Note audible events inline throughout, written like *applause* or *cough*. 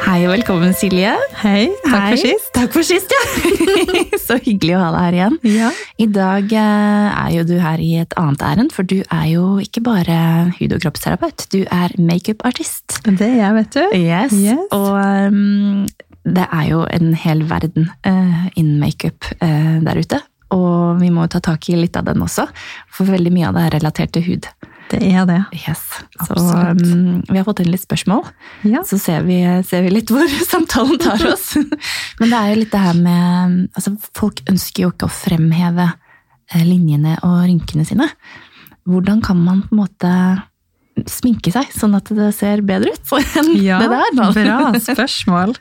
Hei og velkommen, Silje. Hei, takk Hei. for sist. Takk for sist, ja. *laughs* Så hyggelig å ha deg her igjen. Ja. I dag eh, er jo du her i et annet ærend, for du er jo ikke bare hud- og kroppsterapeut, du er makeup-artist. Det er jeg, vet du. Yes. Yes. Og ehm, det er jo en hel verden eh, innen makeup eh, der ute. Og vi må jo ta tak i litt av den også, for veldig mye av det er relatert til hud. Det er det. Yes. Så Absolutt. ehm, vi har fått inn litt spørsmål. Ja. Så ser vi, ser vi litt hvor *laughs* samtalen tar oss. *laughs* Men det er jo litt det her med altså Folk ønsker jo ikke å fremheve eh, linjene og rynkene sine. Hvordan kan man på en måte sminke seg sånn at det ser bedre ut enn Ja, det der? da? bra *laughs* spørsmål.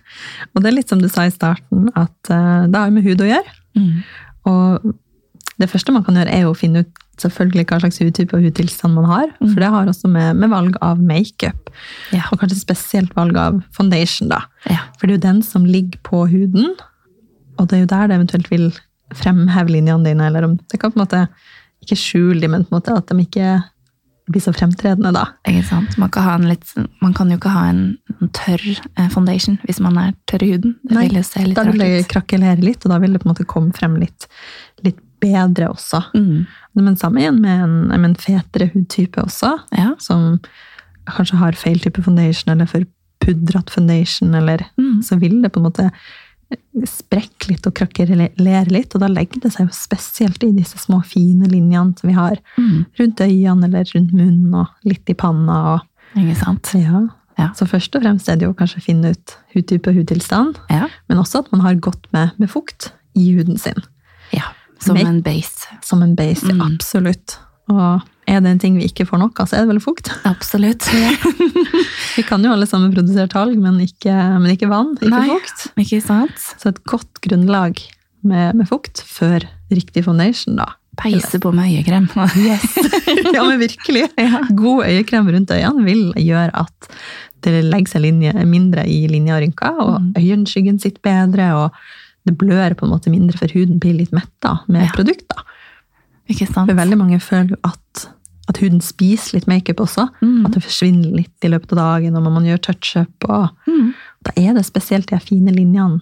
Og det er litt som du sa i starten, at eh, det har jo med hud å gjøre. *laughs* Mm. Og det første man kan gjøre, er jo å finne ut selvfølgelig hva slags hudtype og hudtilstand man har. For det har også med, med valg av makeup, Ja. og kanskje spesielt valg av foundation, da. Ja. For det er jo den som ligger på huden, og det er jo der det eventuelt vil fremheve linjene dine, eller om det kan på en måte ikke skjule dem, men på en måte at de ikke blir så fremtredende, da. Ikke sant? Man kan, ha en litt, man kan jo ikke ha en en tørr eh, foundation hvis man er tørr i huden. Det Nei, vil jo se litt Da vil rart det ut. krakelere litt, og da vil det på en måte komme frem litt, litt bedre også. Mm. Men samme igjen med en, med en fetere hudtype også, Ja. som kanskje har feil type foundation, eller for pudret foundation, eller Mm. så vil det på en måte sprekke litt og krakelere litt, og da legger det seg jo spesielt i disse små fine linjene som vi har Mm. rundt øynene eller rundt munnen og litt i panna. Og, Ikke sant? ja. Ja. Så først og fremst er det jo kanskje å finne ut hudtype og hudtilstand, Ja. men også at man har godt med, med fukt i huden sin, ja. Som Make- en base. som en base, Mm. absolutt. Og er det en ting vi ikke får nok av, så er det vel fukt. Absolutt. Vi kan jo alle sammen produsere talg, men ikke, men ikke vann, ikke Nei. fukt. Ikke sant? Så et godt grunnlag med, med fukt før riktig foundation, da. *laughs* Peise på med øyekrem. ja, men virkelig. God øyekrem rundt øynene vil gjøre at det legger seg linje, mindre i linja og rynka, Mm. og øyenskyggen sitter bedre, og det blør på en måte mindre, for huden blir litt metta med Ja. produkt. da. *laughs* Ikke sant? For veldig mange føler jo at, at huden spiser litt makeup også. Mm. At det forsvinner litt i løpet av dagen, og når man gjør touch-up. og Mm. Da er det spesielt de fine linjene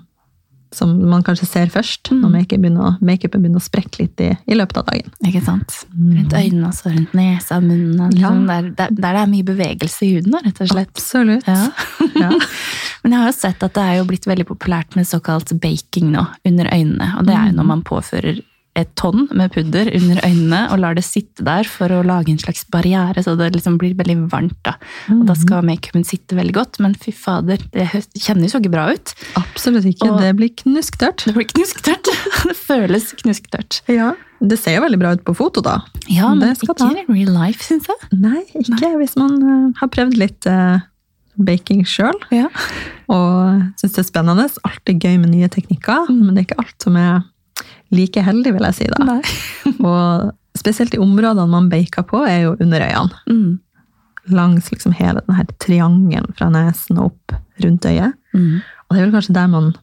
som man kanskje ser først, når makeupen begynner, å- makeupen begynner å sprekke litt i, i løpet av dagen. Ikke sant? Mm. Rundt øynene også, rundt nesa, munnen. og Ja. Liksom. Der, der, der det er mye bevegelse i huden, da, rett og slett. Absolutt. Ja. *laughs* Ja. Men jeg har jo sett at det er jo blitt veldig populært med såkalt baking nå, under øynene. Og det er jo når man påfører et tonn med pudder under øynene og lar det sitte der for å lage en slags barriere, så det liksom blir veldig varmt. da. Og da skal makeupen sitte veldig godt, men fy fader, det hø- kjennes jo ikke bra ut. Absolutt ikke. Og- det blir knusktørt. Det blir knusktørt. *laughs* Det føles knusktørt. Det ser jo veldig bra ut på foto, da. Ja, men Det ikke skal det i real life, syns jeg. Nei, ikke hvis man eh, har prøvd litt eh, baking sjøl Ja. og syns det er spennende. Alltid gøy med nye teknikker, men det er ikke alt som er like heldig, vil jeg si. da. Nei. *laughs* Og spesielt de områdene man baker på, er jo under øynene. Mm. Langs liksom hele denne her triangelen fra nesen og opp rundt øyet. Mm. Og det er vel kanskje der man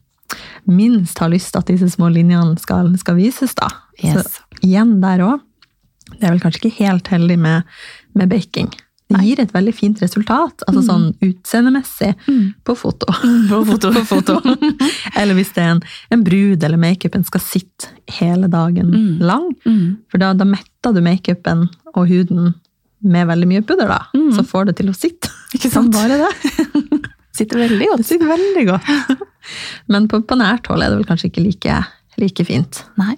minst har lyst til at disse små linjene skal, skal vises, da. Yes. Så igjen der òg. Det er vel kanskje ikke helt heldig med, med baking. Det gir et veldig fint resultat, altså sånn utseendemessig, på foto. Mm. *laughs* På foto. *laughs* På *laughs* foto. eller hvis det er en, en brud eller makeupen skal sitte hele dagen Mm. lang. Mm. For da, da metter du makeupen og huden med veldig mye pudder, da. Mm. Så får det til å sitte. *laughs* Ikke sant? *laughs* Bare det. Sitter veldig Det godt. sitter veldig godt. *laughs* Men på, på nært hold er det vel kanskje ikke like, like fint. Nei.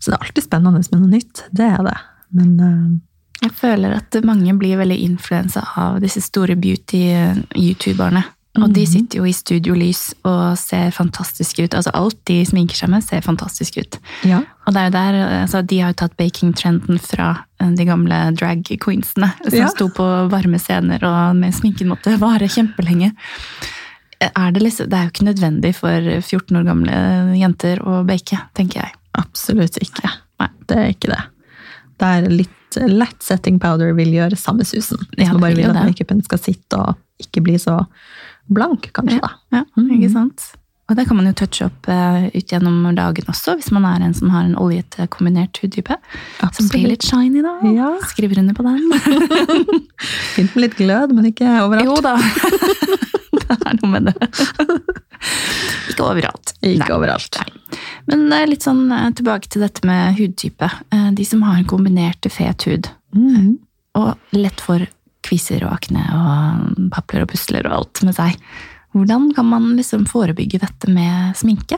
Så det er alltid spennende med noe nytt. Det er det. Men eh, Jeg føler at mange blir veldig influensa av disse store beauty-youtuberne. Og de sitter jo i studiolys og ser fantastiske ut. Altså Alt de sminker seg med, ser fantastisk ut. ja. Og det er jo der, altså De har jo tatt baking-trenden fra eh, de gamle drag queensene som Ja. sto på varme scener og med sminken måtte vare kjempelenge. Er det, liksom, det er jo ikke nødvendig for 14 år gamle jenter å bake, tenker jeg. absolutt ikke. Nei. Det er ikke det. Det er litt lett setting powder vil gjøre samme susen. Hvis Ja, man det bare vil vil jo at det. makeupen skal sitte og ikke bli så blank, kanskje. da. Ja, Mhm. ikke sant? Og det kan man jo touche opp eh, ut gjennom dagen også, hvis man er en som har en oljete kombinert hudtype. Som Absolutt. blir litt shiny, da. Ja. Skriver under på *laughs* den. Fint med litt glød, men ikke overalt. Jo da! *laughs* det er noe med det. Ikke overalt. Ikke Nei. overalt. Men eh, litt sånn eh, tilbake til dette med hudtype. Eh, De som har kombinert til fet hud, Mhm. og lett for kviser og akne og papler og pusler og alt med seg. Hvordan kan man liksom forebygge dette med sminke?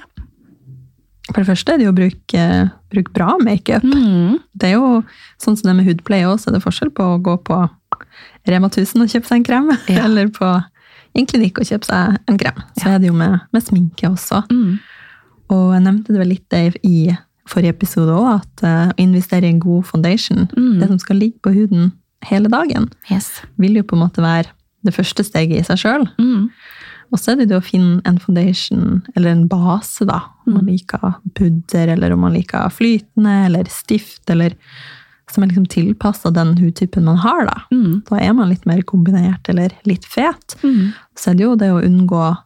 For det første er det jo å bruke, bruke bra makeup. Mm. Det er jo sånn som det med hudpleie også, er det forskjell på å gå på Rema 1000 og kjøpe seg en krem, Ja. *laughs* eller på en klinikk og kjøpe seg en krem. Så er det jo med, med sminke også. Mm. Og jeg nevnte det vel litt Dave, i forrige episode også, at eh, å investere i en god foundation, Mm. det som skal ligge på huden hele dagen, Yes. vil jo på en måte være det første steget i seg selv. Mm. Og så er det det å finne en foundation, eller en base, da. Mm. Om man liker pudder, eller om man liker flytende, eller stift, eller som er liksom tilpassa den hudtypen man har, da. Mm. Da er man litt mer kombinert, eller litt fet. Mm. Så er det jo det å unngå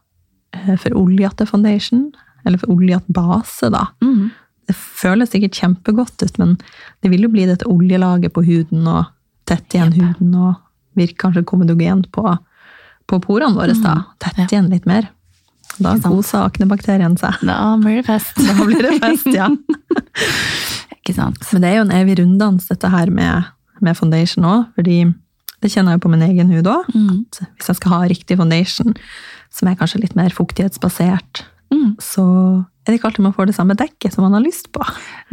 eh, for oljete foundation, eller for oljete base, da. Mm. Det føles sikkert kjempegodt ut, men det vil jo bli dette oljelaget på huden, og tett igjen Jepp. huden, og virker kanskje komedogent på, på porene våre, da. Mm. Tett Ja. igjen litt mer. Da Ikke sant. koser aknebakterien seg. *laughs* Da blir det fest. *laughs* Da blir det fest, ja. Ikke sant? Men det er jo en evig runddans, dette her med, med foundation òg, fordi det kjenner jeg jo på min egen hud òg. Mm. Hvis jeg skal ha riktig foundation, som er kanskje litt mer fuktighetsbasert, Mm. så er det ikke alltid man får det samme dekket som man har lyst på.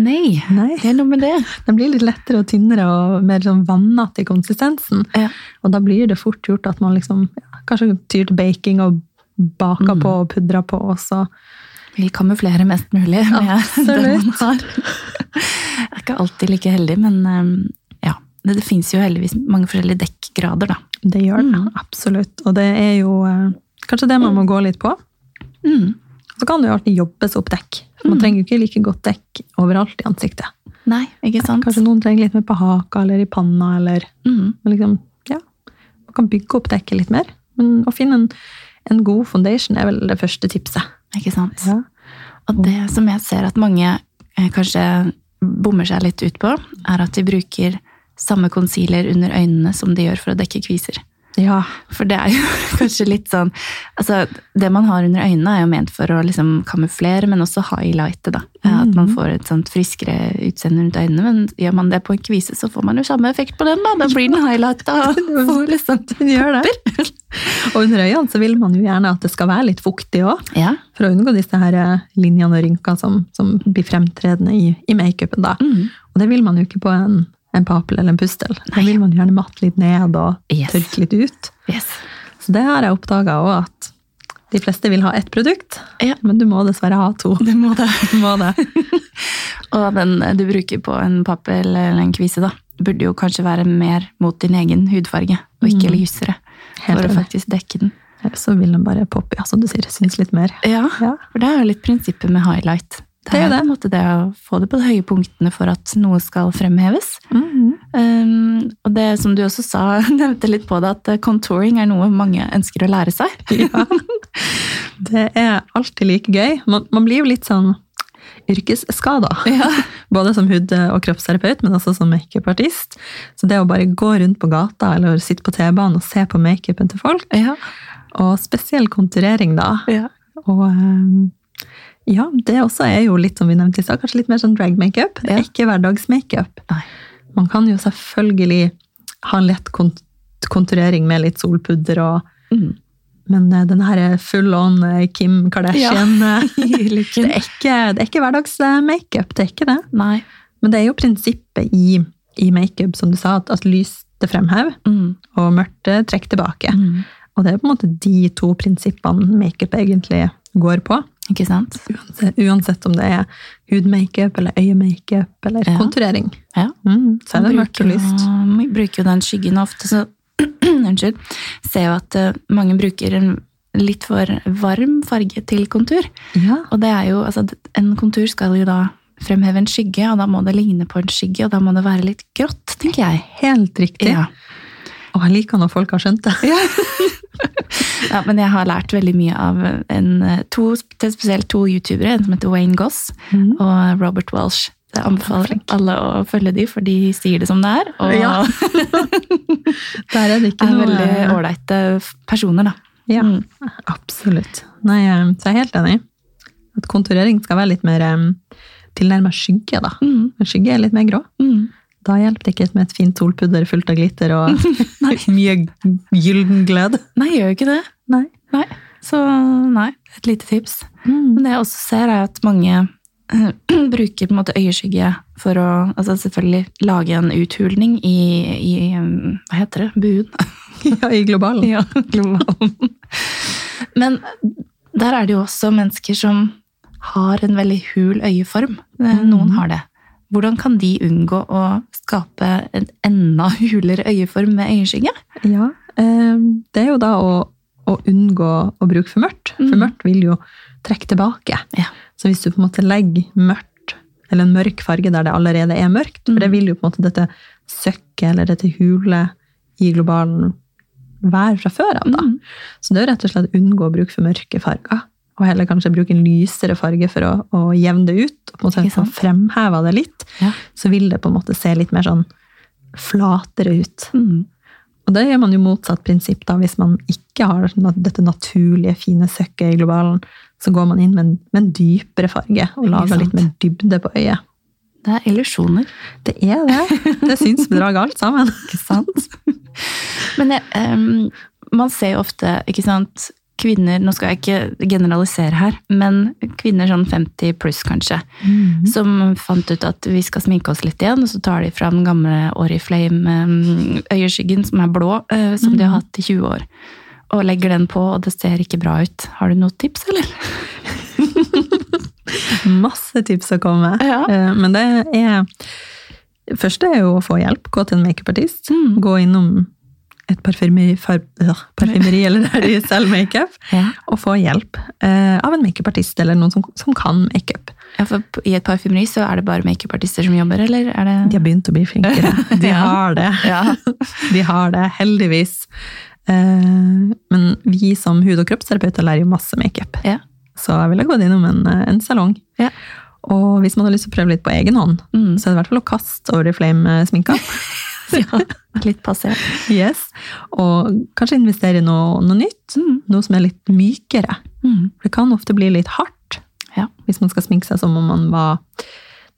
Nei, Nei. det er noe med det. Den blir litt lettere og tynnere og mer sånn vannete i konsistensen. Ja. Og da blir det fort gjort at man liksom, ja, kanskje tyr til baking og baker Mm. på og pudrer på også. Vil kamuflere mest mulig med det man Absolutt. har. Jeg er ikke alltid like heldig, men um, ja. Det, det fins jo heldigvis mange forskjellige dekkgrader, da. Det gjør det, Mm. absolutt. Og det er jo eh, kanskje det man må gå litt på. Mm. Så kan det jo alltid jobbes opp dekk. Man Mm. trenger jo ikke like godt dekk overalt i ansiktet. Nei, ikke sant? Kanskje noen trenger litt mer på haka eller i panna, eller Mm. men liksom, ja. Man kan bygge opp dekket litt mer. Men å finne en, en god foundation er vel det første tipset. Ikke sant? Ja. Og det som jeg ser at mange eh, kanskje bommer seg litt ut på, er at de bruker samme concealer under øynene som de gjør for å dekke kviser. ja. For det er jo *laughs* kanskje litt sånn Altså, det man har under øynene, er jo ment for å liksom kamuflere, men også highlighte, da. Eh, At man får et sånt friskere utseende rundt øynene. Men gjør man det på en kvise, så får man jo samme effekt på den, da. Da blir den highlighta og får liksom Den gjør det. Og under øynene så vil man jo gjerne at det skal være litt fuktig òg, Ja. for å unngå disse her eh, linjene og rynkene som, som blir fremtredende i, i makeupen. da. Mm. Og det vil man jo ikke på en, en papel eller en pustel. Da Nei. vil man gjerne matte litt ned og Yes. tørke litt ut. Yes. Så det har jeg oppdaga òg, at de fleste vil ha ett produkt, Ja. men du må dessverre ha to. Det må det. Du må det. *laughs* Og den eh, du bruker på en pappel eller en kvise, da, burde jo kanskje være mer mot din egen hudfarge, og ikke lysere. Helt For å enig. faktisk dekke den. Ellers så vil den bare poppe, ja, som du sier. Syns litt mer. Ja, Ja. for det er jo litt prinsippet med highlight. Det Det er er jo på en måte det å få det på de høye punktene for at noe skal fremheves. Um, og det som du også sa, *laughs* nevnte litt på det, at eh, contouring er noe mange ønsker å lære seg. *laughs* Ja. Det er alltid like gøy. Man, man blir jo litt sånn yrkesskada. *laughs* Både som hud- og kroppsterapeut, men også som makeupartist. Så det å bare gå rundt på gata eller sitte på T-banen og se på makeupen til folk, Ja. og spesiell konturering da, Ja. og eh, ja, det også er jo litt som vi nevnte i stad, kanskje litt mer sånn drag-makeup. Det Ja. er ikke hverdagsmakeup. Nei. Man kan jo selvfølgelig ha en lett kont konturering med litt solpudder og Mm. men eh, den her er full on eh, Kim Kardashian *laughs* eh, det, er ikke, det er ikke hverdagsmakeup, det er ikke det. Nei. Men det er jo prinsippet i, i makeup, som du sa, at, at lys det fremhever, Mm. og mørkt eh, trekker tilbake. Mm. Og det er på en måte de to prinsippene makeup egentlig går på. Ikke sant? Uansett, uansett om det er hudmakeup eller øyemakeup eller Ja. konturering. Ja. Mm, så er det Man mørkt og bruker jo- lyst. Man bruker jo den skyggen ofte, så *clears throat* unnskyld, ser jo at eh, mange bruker en litt for varm farge til kontur. Ja. Og det er jo, altså, en kontur skal jo da fremheve en skygge, og da må det ligne på en skygge, og da må det være litt grått, tenker jeg. Helt riktig. Ja. Og jeg liker når folk har skjønt det. Ja, men jeg har lært veldig mye av en, to, til spesielt to youtubere, en som heter Wayne Goss Mhm. og Robert Welsh. Jeg anbefaler alle å følge de, for de sier det som det er, og Ja, *laughs* Der er det ikke er noe veldig ålreite personer, da. Ja, Mm. absolutt. Nei, eh, så jeg er helt enig. At konturering skal være litt mer eh, tilnærmet skygge, da. Mm, Men Skygge er litt mer grå. mm. Da hjelper det ikke med et fint solpudder fullt av glitter *laughs* og mye gylden glød. Nei, jeg gjør jo ikke det. Nei. Nei. Så nei, et lite tips. Mm. Men det jeg også ser, er at mange eh, *clears throat* bruker på en måte øyeskygge for å altså selvfølgelig lage en uthulning i, i eh, Hva heter det? Buen? *laughs* *laughs* Ja, i globalen. ja, globalen. Men der er det jo også mennesker som har en veldig hul øyeform. Eh, Noen har det. Hvordan kan de unngå å skape en enda hulere øyeform med øyeskygge? Ja, eh, det er jo da å, å unngå å bruke for mørkt. For Mm. mørkt vil jo trekke tilbake. Ja. Så hvis du på en måte legger mørkt, eller en mørk farge der det allerede er mørkt, for det Mm. vil jo på en måte dette søkket eller dette hulet i globalen være fra før av, da. Mm. Så det er jo rett og slett å unngå å bruke for mørke farger. Og heller kanskje bruke en lysere farge for å, å jevne det ut. og på en måte Ikke sant? få fremheva det litt. Ja. Så vil det på en måte se litt mer sånn flatere ut. Mm. Og det gjør man jo motsatt prinsipp da, hvis man ikke har na- dette naturlige, fine søkket i globalen. Så går man inn med en, med en dypere farge og Ikke lager sant? litt mer dybde på øyet. Det er illusjoner. Det er det. Det syns bedrag alt sammen. *laughs* Ikke *laughs* sant? Men jeg, em, man ser jo ofte, ikke sant, kvinner, nå skal jeg ikke generalisere her, men kvinner sånn 50 pluss kanskje, Mhm. som fant ut at vi skal sminke oss litt igjen, og så tar de fra den gamle Oriflame em, øyeskyggen som er blå, eh, som de har Mhm. hatt i 20 år, og legger den på, og det ser ikke bra ut. Har du noen tips, eller? Masse tips å komme med. Ja. Eh, Men det er det Første er jo å få hjelp. Gå til en makeupartist. Mm. Gå innom et parfymeri, far, øh, *laughs* parfymeri eller der de selger makeup, Ja. og få hjelp eh, av en makeupartist eller noen som, som kan makeup. for I et parfymeri så er det bare makeupartister som jobber, eller er det... De har begynt å bli flinkere. *laughs* De Ja. har det. *laughs* Ja. *laughs* De har det, heldigvis. Eh, Men vi som hud- og kroppsterapeuter lærer jo masse makeup. Ja. Så jeg ville gått innom en, eh, en salong. Ja. Og hvis man har lyst til å prøve litt på egen hånd, Mm. så er det i hvert fall å kaste Oriflame-sminka. *laughs* *laughs* ja. Litt passert. yes. Og kanskje investere i noe, noe nytt. Mm. Noe som er litt mykere. Mm. For det kan ofte bli litt hardt Ja. hvis man skal sminke seg som om man var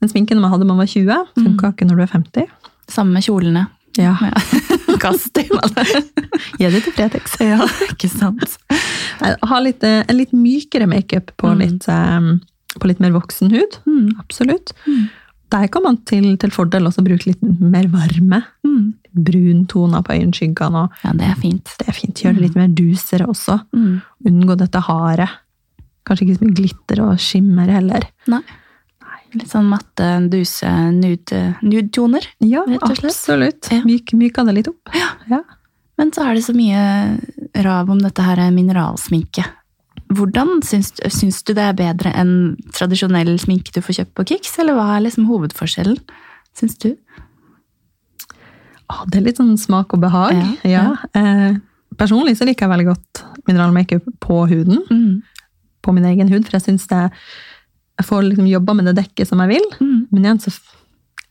Den sminken man hadde da man var 20, Mm. funka ikke når du er 50. Samme med kjolene. Ja. *laughs* Kast altså. i meg det. Gi det til Fretex. *laughs* Ja, ikke sant? Nei, Ha litt, eh, en litt mykere makeup på, Mm. litt, eh, på litt mer voksen hud. Absolutt. Mm. Der kan man til, til fordel også bruke litt mer varme. Bruntoner på øyenskyggene. og Mm. Ja, det er fint. Det er fint. Gjør det litt mer dusere også. Mm. Unngå dette hare. Kanskje ikke så mye glitter og skimmer heller. Nei. Litt sånn matte, duse, nude, nude-toner. Ja, Rett og slett. absolutt. Ja. Myk, myka det litt opp. Ja. Ja. Men så er det så mye rav om dette her mineralsminke. Hvordan syns, syns du det er bedre enn tradisjonell sminke du får kjøpt på Kix, eller hva er liksom hovedforskjellen, syns du? Å, det er litt sånn smak og behag. Ja, Ja. Eh, personlig så liker jeg veldig godt mineralmakeup på huden. Mm. På min egen hud, for jeg syns det Jeg får liksom jobba med det dekket som jeg vil. Mm. Men igjen, så f-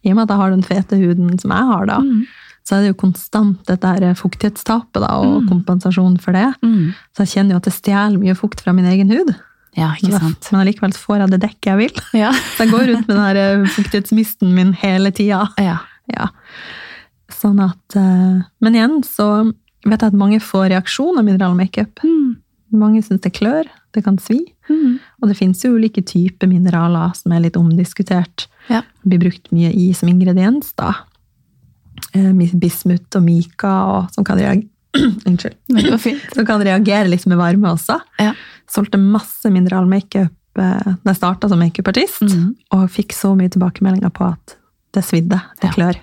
i og med at jeg har den fete huden som jeg har, da, Mm. så er det jo konstant dette her fuktighetstapet da, og Mm. kompensasjon for det. Mm. Så jeg kjenner jo at det stjeler mye fukt fra min egen hud. Ja, ikke Men- sant? Men allikevel så får jeg det dekket jeg vil. Ja. Så jeg går rundt med den her eh, fuktighetsmisten min hele tida. ja. Ja. Sånn at eh, Men igjen så vet jeg at mange får reaksjon av mineralmakeup. Mm. Mange syns det klør, det kan svi. Mm. Og det fins jo ulike typer mineraler som er litt omdiskutert. Ja. Det blir brukt mye i som ingrediens, da. Eh, Bismut og mika, og, som, kan reagere, *clears throat* unnskyld, Det går fint. som kan reagere litt med varme også. Ja. Solgte masse mineralmakeup eh, da jeg starta som makeupartist, Mhm. og fikk så mye tilbakemeldinger på at det svidde, det Ja. klør.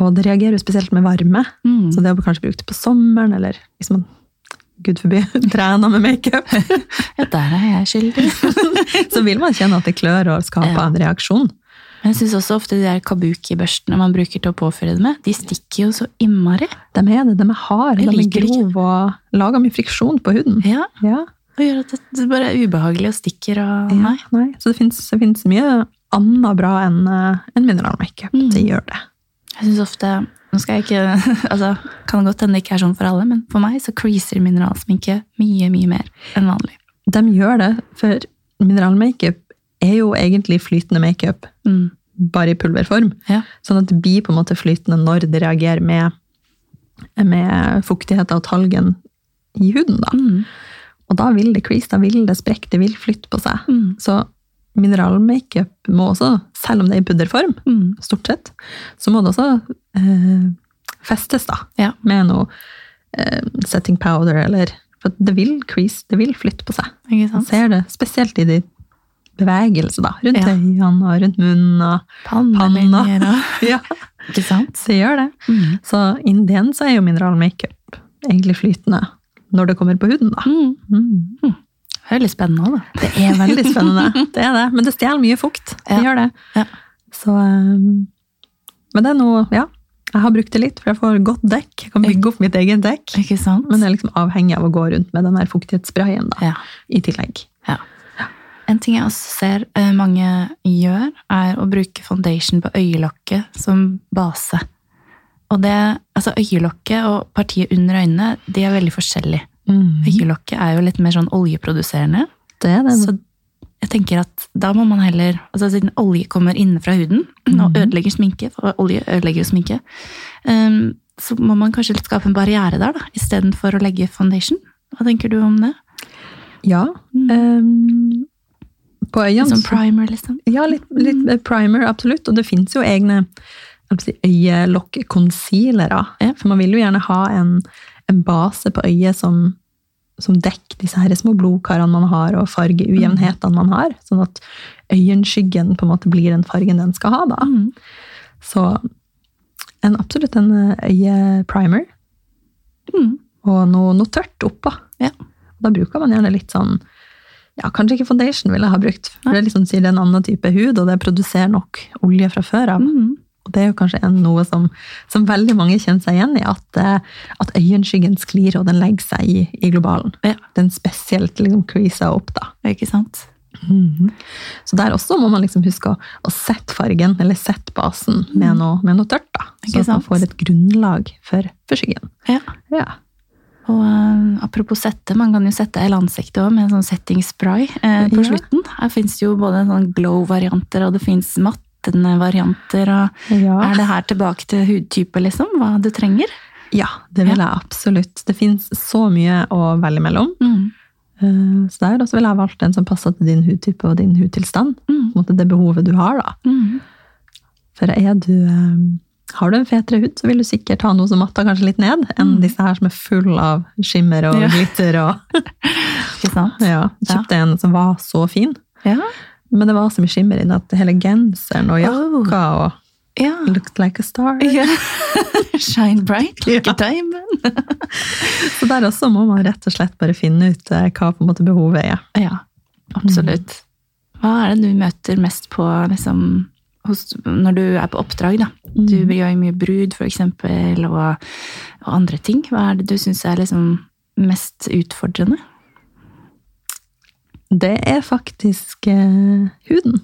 Og det reagerer jo spesielt med varme, Mm. så det å kanskje bruke det på sommeren, eller hvis man gud forby, *laughs* trener med makeup, Ja, der er jeg skyldig. så vil man kjenne at det klør og skaper Ja. en reaksjon. Men jeg syns også ofte de der kabuki-børstene man bruker til å påføre det med, de stikker jo så innmari. De er det, de er harde, Jeg de er liker det ikke. grove og lager mye friksjon på huden. Ja, Ja, Og gjør at det bare er ubehagelig og stikker og ja, Nei. nei. Så det finnes, det finnes mye annet bra enn eh, enn mineralmakeup. Mm. Det gjør det. Jeg syns ofte Nå skal jeg ikke *laughs* Altså, kan godt hende det ikke er sånn for alle, men for meg så creaser mineralsminke mye, mye mer enn vanlig. De gjør det, for mineralmakeup er jo egentlig flytende makeup, Mm. bare i pulverform. Ja. Sånn at det blir på en måte flytende når det reagerer med, med fuktigheten og talgen i huden. Da. Mm. Og da vil det crease, da vil det sprekke, det vil flytte på seg. Mm. Så mineralmakeup må også, selv om det er i pudderform, Mm. stort sett, så må det også eh, festes da, Ja. med noe eh, setting powder, eller, for det vil crease, det vil flytte på seg. Ikke Man sant? ser det spesielt i de bevegelse da, rundt Ja. øynene og rundt munnen. Og, Pannelinjer og *laughs* ja, Ikke sant? så gjør det. Mm. Så innen den så er jo mineralmakeup egentlig flytende når det kommer på huden da. Mm. Mm. Det er veldig spennende òg, da. Det er veldig spennende, det er det. Men det stjeler mye fukt, det Ja. gjør det. Ja. Så, um, men det er noe, ja, jeg har brukt det litt, for jeg får godt dekk. Jeg kan bygge opp mitt egen dekk. *laughs* Ikke sant? Men jeg er liksom avhengig av å gå rundt med den her fuktighetssprayen da, ja. i tillegg. En ting jeg også ser eh, mange gjør, er å bruke foundation på øyelokket som base. Og det, altså Øyelokket og partiet under øynene de er veldig forskjellige. Mm. Øyelokket er jo litt mer sånn oljeproduserende. Det er det. Så jeg tenker at da må man heller altså Siden olje kommer innenfra huden og Mhm. ødelegger sminke, for olje ødelegger jo sminke, ehm, så må man kanskje litt skape en barriere der, da, istedenfor å legge foundation. Hva tenker du om det? Ja. Mm. ehm, på øynene Som så- primer, liksom. Ja, litt, litt primer, absolutt. Og det fins jo egne jeg vil si, øyelokk-concealere. Ja. For man vil jo gjerne ha en, en base på øyet som, som dekker disse her små blodkarene man har, og fargeujevnhetene man har. Sånn at øyenskyggen på en måte blir den fargen den skal ha, da. Mm. Så en, absolutt en eh, øyeprimer. Mm. og noe, noe tørt oppå. Ja. Da bruker man gjerne litt sånn ja, Kanskje ikke foundation ville jeg ha brukt. for Nei. Det er liksom, sier det er en annen type hud, og det produserer nok olje fra før av. Mm. Og Det er jo kanskje en, noe som, som veldig mange kjenner seg igjen i, at, eh, at øyenskyggen sklir, og den legger seg i, i globalen. Ja. Den spesielt liksom creaser opp, da. Ikke sant? Mhm. Så der også må man liksom huske å, å sette fargen, eller sette basen, med noe, med noe tørt, da. Mm. Ikke Så at man sant? får et grunnlag for, for skyggen. Ja. Ja. Og eh, apropos sette, man kan jo sette hele ansiktet også med en sånn setting spray eh, på Ja. slutten. Her fins det jo både sånn glow-varianter, og det fins mattende varianter. Og ja. er det her tilbake til hudtype, liksom? Hva du trenger? Ja, det vil jeg absolutt. Det fins så mye å velge mellom. Mm. Eh, Så der også ville jeg valgt en som passer til din hudtype og din hudtilstand. Mm. På en måte det behovet du har, da. Mm. For er du, eh, har du en fetere hud, så vil du sikkert ha noe som matter kanskje litt ned, enn Mm. disse her som er full av skimmer og Ja. *laughs* glitter og Ikke sant? Ja. Jeg Kjøpte en som var så fin, Ja. men det var så mye skimmer i den at hele genseren og Oh. jakka og ja. Looked like a star. Ja. *laughs* Shine bright like Ja. a diamond. Så der også må man rett og slett bare finne ut eh, hva på en måte behovet er. Ja, absolutt. Mm. Hva er det du møter mest på liksom, hos, når du er på oppdrag? da? Du Mm. gjør jo mye brud, for eksempel, og, og andre ting. Hva er det du syns er liksom mest utfordrende? Det er faktisk eh, huden.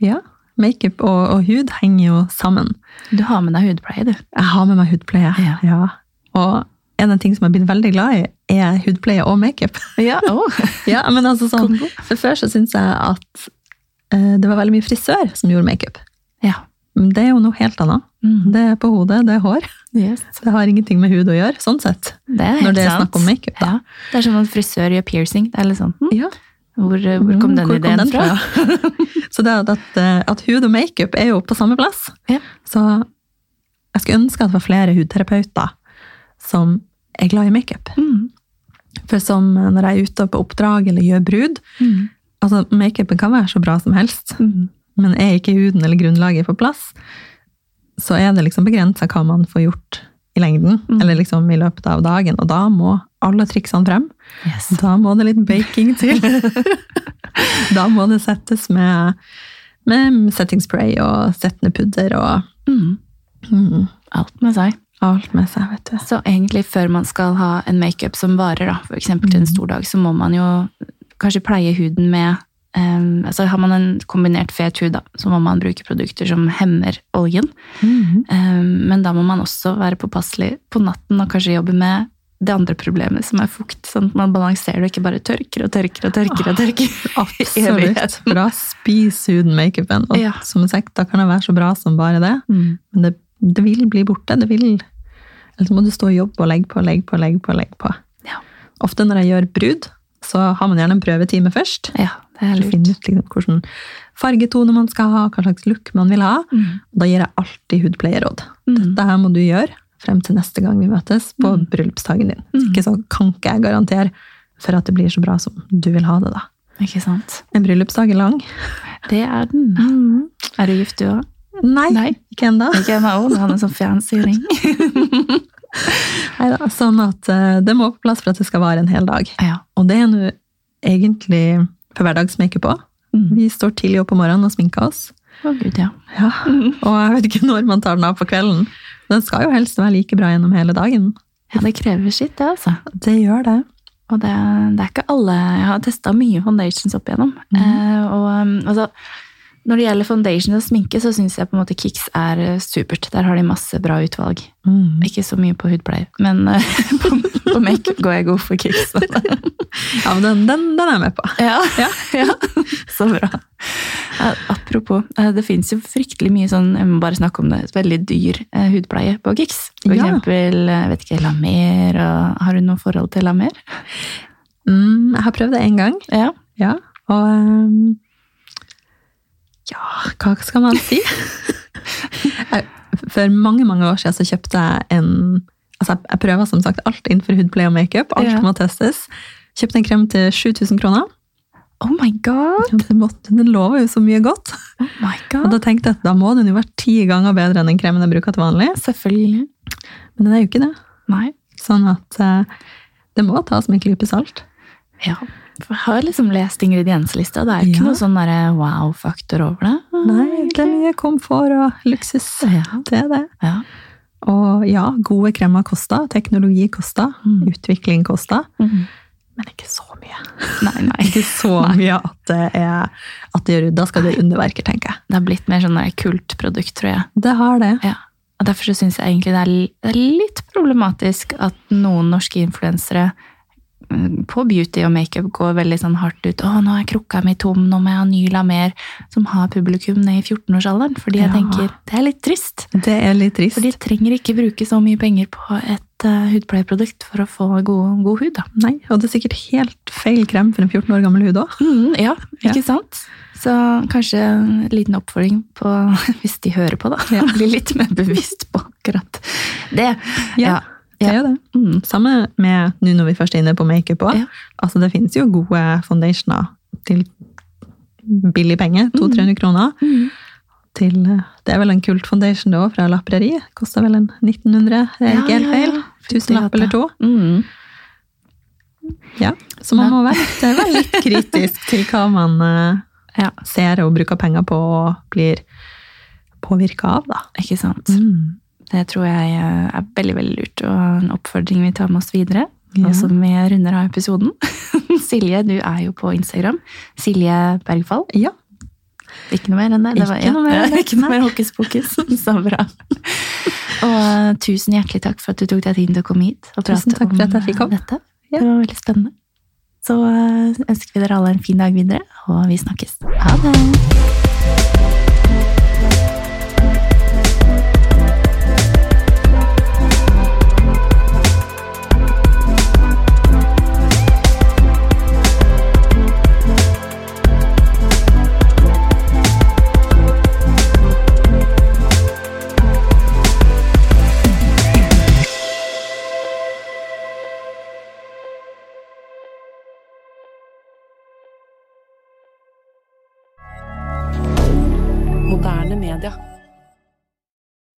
Ja. Makeup og, og hud henger jo sammen. Du har med deg hudpleie, du. Jeg har med meg hudpleie. Ja. Og en av ting som jeg har blitt veldig glad i, er hudpleie og makeup. *laughs* Ja, *laughs* ja, men altså sånn, Kombo. for før så syns jeg at eh, det var veldig mye frisør som gjorde makeup. Ja. Men det er jo noe helt annet. Mm. Det er på hodet, det er hår. Det har ingenting med hud å gjøre, sånn sett. Det er helt sant. Når det er snakk om makeup, da. Ja. Det er som om frisør gjør piercing. Det er litt sånn, hm, Ja. hvor, hvor kom Mm, den hvor kom ideen den fra? *laughs* Så det at, at, eh, at hud og makeup er jo på samme plass. Ja. Så jeg skulle ønske at det var flere hudterapeuter som er glad i makeup. Mm. For som eh, når jeg er ute på oppdrag eller gjør brud Mm. altså Makeupen kan være så bra som helst, Mm. men er ikke huden eller grunnlaget på plass, så er det liksom begrensa hva man får gjort i lengden, Mm. eller liksom i løpet av dagen. Og da må alle triksene frem. Yes. Da må det litt baking *laughs* til. da må det settes med, med setting spray og settende pudder og Mm. mm, Alt med seg. alt med seg, vet du. Så egentlig før man skal ha en makeup som varer, da, for eksempel til en stor dag, så må man jo kanskje pleie huden med em, altså Har man en kombinert fet hud, da, så må man bruke produkter som hemmer oljen. Mhm. Em, men da må man også være påpasselig på natten og kanskje jobbe med det andre problemet, som er fukt. Sånn at man balanserer og ikke bare tørker og tørker og tørker. og tørker. Absolutt. Evigheten. Bra spis huden makeupen. Og Ja. som sagt, da kan det være så bra som bare det. Mm. Men det, det vil bli borte. Det vil. Eller så må du stå og jobbe og legge på, legge på, legge på. legge på. Ja. Ofte når jeg gjør brud, så har man gjerne en prøvetime først. Ja, det er Eller lurt. finne ut liksom, hvilken fargetone man skal ha, hva slags look man vil ha. Mm. Og da gir jeg alltid hudpleieråd. Mm. Dette her må du gjøre frem til neste gang vi møtes på Mm. bryllupsdagen din. Mm. Ikke så kan ikke jeg garantere for at det blir så bra som du vil ha det, da. Ikke sant? En bryllupsdag er lang. Det er den. Er du gift, du òg? Nei, Nei. ikke ennå. Ikke jeg òg, men han er sånn fancy ring. Neida, Sånn at eh, det må på plass for at det skal vare en hel dag. *laughs* Ja. Og det er nå egentlig for hverdagsmakeup òg. Mm. Vi står tidlig opp om morgenen og sminker oss. Å, Gud, ja. Ja. *laughs* Og jeg vet ikke når man tar den av på kvelden. Den skal jo helst være like bra gjennom hele dagen. Ja, det krever sitt, det, altså. Det gjør det. Og det, det er ikke alle Jeg har testa mye foundations opp igjennom. Mhm. Eh, og um, altså når det gjelder foundation og sminke, så syns jeg på en måte Kix er eh, supert. Der har de masse bra utvalg. Mm. Mhm. Ikke så mye på hudpleie, men eh, *laughs* på, på makeup går jeg god for altså. Kix. Ja, men den, den, den er jeg med på. Ja, *laughs* Ja. ja. Så bra. Eh, Apropos, eh, det fins jo fryktelig mye sånn jeg må bare snakke om det, veldig dyr eh, hudpleie på Kix. For Ja. eksempel eh, vet ikke, Lamer. Og, har du noe forhold til Lamer? Mm, jeg har prøvd det én gang, Ja. ja. og ehm, Ja, hva skal man si? Jeg- For mange mange år siden så kjøpte jeg en altså Jeg jeg prøver som sagt alt innenfor hudpleie og makeup. Alt Ja. må testes. Kjøpte en krem til 7000 kroner. Oh my god! Ja, Den, måtte, den lover jo så mye godt. Oh my Og god. da tenkte jeg at da må den jo være ti ganger bedre enn den kremen jeg bruker til vanlig. Selvfølgelig. Men den er jo ikke det. Nei. Sånn at eh, det må tas med en klype salt. Ja. For jeg har liksom lest ingredienslista. Det er ikke Ja. noe sånn derre wow-faktor over det. Nei, det er mye komfort og luksus. Ja. Det er det. ja. Og ja, gode kremer koster, teknologi koster, Mm. utvikling koster, Mhm. men ikke så mye. Nei, nei. *laughs* Ikke så mye at det, er, at det gjør, da skal det gjøre underverker, tenker jeg. Det har blitt mer sånn der kultprodukt, tror jeg. Det har det. Ja. Og Derfor syns jeg egentlig det er, l- det er litt problematisk at noen norske influensere mm, på beauty og makeup går veldig sånn hardt ut. 'Å, nå er krukka mi tom, nå må jeg ha ny lamer.' Som har publikum ned i 14-årsalderen. Fordi jeg Ja. tenker det er litt trist. Det er litt trist. For de trenger ikke bruke så mye penger på et eh, hudpleieprodukt for å få god, god hud, da. Nei, og det er sikkert helt feil krem for en 14 år gammel hud også. Mm, ja, ikke sant? Så kanskje en liten oppfordring på *laughs* hvis de hører på, da. *laughs* Bli litt mer bevisst på akkurat det. *laughs* Ja. Det er jo det. Mm. Samme med nå når vi først er inne på makeup også. Ja. Altså, det finnes jo gode foundationer til billig penge, 200-300 kroner. Mm. til eh, Det er vel en kult foundation det òg, fra Lappereri. Kosta vel en 1900, det er Ja, ikke helt ja, feil. ja. Tusenlapp eller to. Mm. Ja. Så man Ja. må være litt, være *laughs* litt kritisk til hva man eh, Ja. ser og bruker penger på og blir påvirka av, da. Ikke sant. Det tror jeg eh, er veldig, veldig lurt, og en oppfordring vi tar med oss videre. Ja. Nå som vi runder av episoden. *laughs* Silje, du er jo på Instagram. Silje Bergfall. Ja. Ikke noe mer enn det? det var, Ikke noe mer enn det, *laughs* Ikke noe nei. mer hokus pokus. *laughs* Så bra. Og eh, tusen hjertelig takk for at du tok deg tiden til å komme hit og Tusen prate takk om for at jeg fikk eh, komme. dette. Ja. Det var veldig spennende. Så eh, ønsker vi dere alle en fin dag videre, og vi snakkes. Ha det!